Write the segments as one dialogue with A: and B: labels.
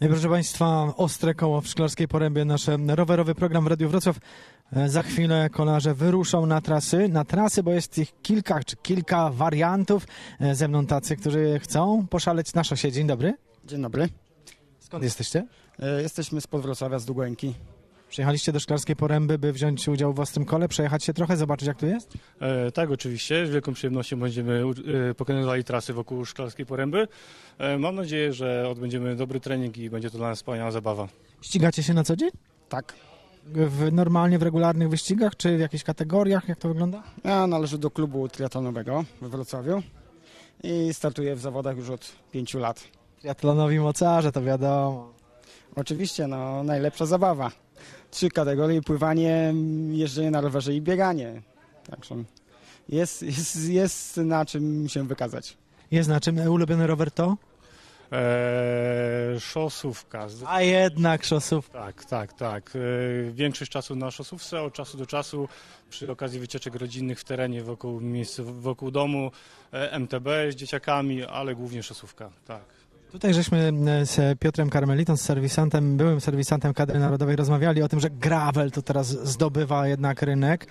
A: E, Proszę Państwa, ostre koło w Szklarskiej Porębie, nasz em, rowerowy program w Radiu Wrocław. E, Za chwilę kolarze wyruszą na trasy, na trasy, bo jest ich kilka, czy kilka wariantów. E, Ze mną tacy, którzy chcą poszaleć na szosie. Dzień dobry.
B: Dzień dobry.
A: Skąd jesteście?
B: E, Jesteśmy z Podwrocławia, z Dugłęki.
A: Przyjechaliście do Szklarskiej Poręby, by wziąć udział w ostrym kole, przejechać się trochę, zobaczyć jak tu jest?
C: E, tak, oczywiście. Z wielką przyjemnością będziemy u- e, pokonywali trasy wokół Szklarskiej Poręby. E, mam nadzieję, że odbędziemy dobry trening i będzie to dla nas wspaniała zabawa.
A: Ścigacie się na co dzień?
B: Tak.
A: W, normalnie w regularnych wyścigach, czy w jakichś kategoriach? Jak to wygląda?
B: Ja należę do klubu triatlonowego we Wrocławiu i startuję w zawodach już od pięciu lat.
A: Triatlonowi mocarze, to wiadomo.
B: Oczywiście, no, najlepsza zabawa. Trzy kategorie, pływanie, jeżdżenie na rowerze i bieganie. Także jest, jest, jest na czym się wykazać.
A: Jest na czym ulubiony rower to?
C: E, szosówka. Z-
A: A jednak szosów.
C: Tak, tak, tak. E, większość czasu na szosówce, od czasu do czasu przy okazji wycieczek rodzinnych w terenie wokół, miejsc, wokół domu, e, MTB z dzieciakami, ale głównie szosówka. Tak.
A: Tutaj żeśmy e, z Piotrem Karmelitą, z serwisantem, byłym serwisantem kadry narodowej, rozmawiali o tym, że gravel to teraz zdobywa jednak rynek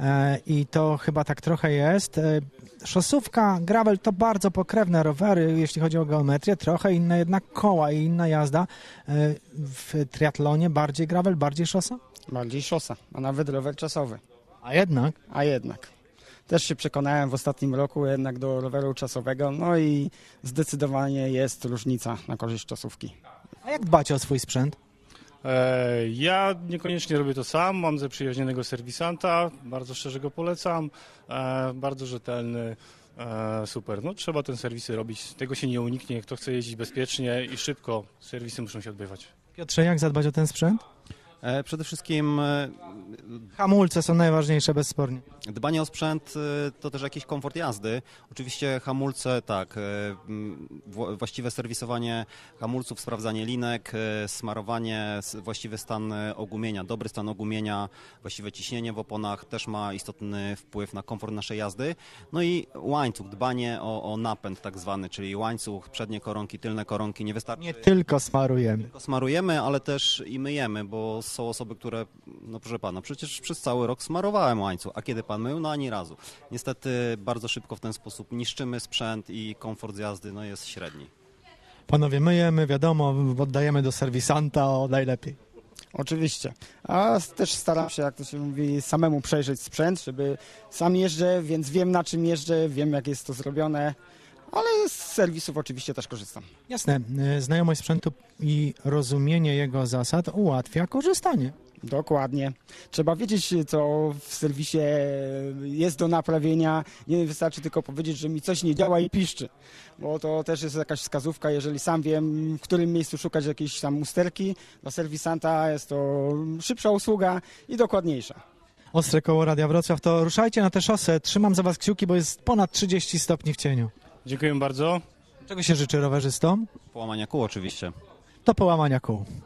A: e, i to chyba tak trochę jest. E, Szosówka, gravel to bardzo pokrewne rowery, jeśli chodzi o geometrię, trochę inne jednak koła i inna jazda. E, W triatlonie bardziej gravel, bardziej szosa?
B: Bardziej szosa, a nawet rower czasowy.
A: A jednak.
B: A jednak. Też się przekonałem w ostatnim roku jednak do roweru czasowego, no i zdecydowanie jest różnica na korzyść czasówki.
A: A jak dbacie o swój sprzęt?
C: E, Ja niekoniecznie robię to sam, mam zaprzyjaźnionego serwisanta, bardzo szczerze go polecam, e, bardzo rzetelny, e, super. No trzeba ten serwisy robić, tego się nie uniknie, kto chce jeździć bezpiecznie i szybko, serwisy muszą się odbywać.
A: Piotrze, jak zadbać o ten sprzęt?
D: E, Przede wszystkim e,
A: Hamulce są najważniejsze bezspornie.
D: dbanie o sprzęt e, to też jakiś komfort jazdy. Oczywiście hamulce, tak, e, m, wła- właściwe serwisowanie hamulców, sprawdzanie linek, e, smarowanie, s- właściwy stan e, ogumienia, dobry stan ogumienia, właściwe ciśnienie w oponach też ma istotny wpływ na komfort naszej jazdy. No i łańcuch, dbanie o, o napęd tak zwany, czyli łańcuch, przednie koronki, tylne koronki, nie wystarczy.
A: Nie tylko smarujemy.
D: tylko smarujemy, ale też i myjemy, bo są osoby, które, no proszę pana, przecież przez cały rok smarowałem łańcuch, a kiedy pan mył, no ani razu. Niestety bardzo szybko w ten sposób niszczymy sprzęt i komfort jazdy no, jest średni.
A: Panowie, myjemy, wiadomo, oddajemy do serwisanta o najlepiej.
B: Oczywiście. A s- też staram się, jak to się mówi, samemu przejrzeć sprzęt, żeby sam jeżdżę, więc wiem na czym jeżdżę, wiem jak jest to zrobione, ale z serwisów oczywiście też korzystam.
A: Jasne, y, znajomość sprzętu i rozumienie jego zasad ułatwia korzystanie.
B: Dokładnie. Trzeba wiedzieć, co w serwisie e, jest do naprawienia. Nie wystarczy tylko powiedzieć, że mi coś nie działa i piszczy, bo to też jest jakaś wskazówka. Jeżeli sam wiem, w którym miejscu szukać jakiejś tam usterki, dla serwisanta jest to szybsza usługa i dokładniejsza.
A: Ostre koło Radia Wrocław, to ruszajcie na tę szosę. Trzymam za was kciuki, bo jest ponad 30 stopni w cieniu.
C: Dziękuję bardzo.
A: Czego się życzy rowerzystom?
D: Połamania kół oczywiście.
A: To połamania kół.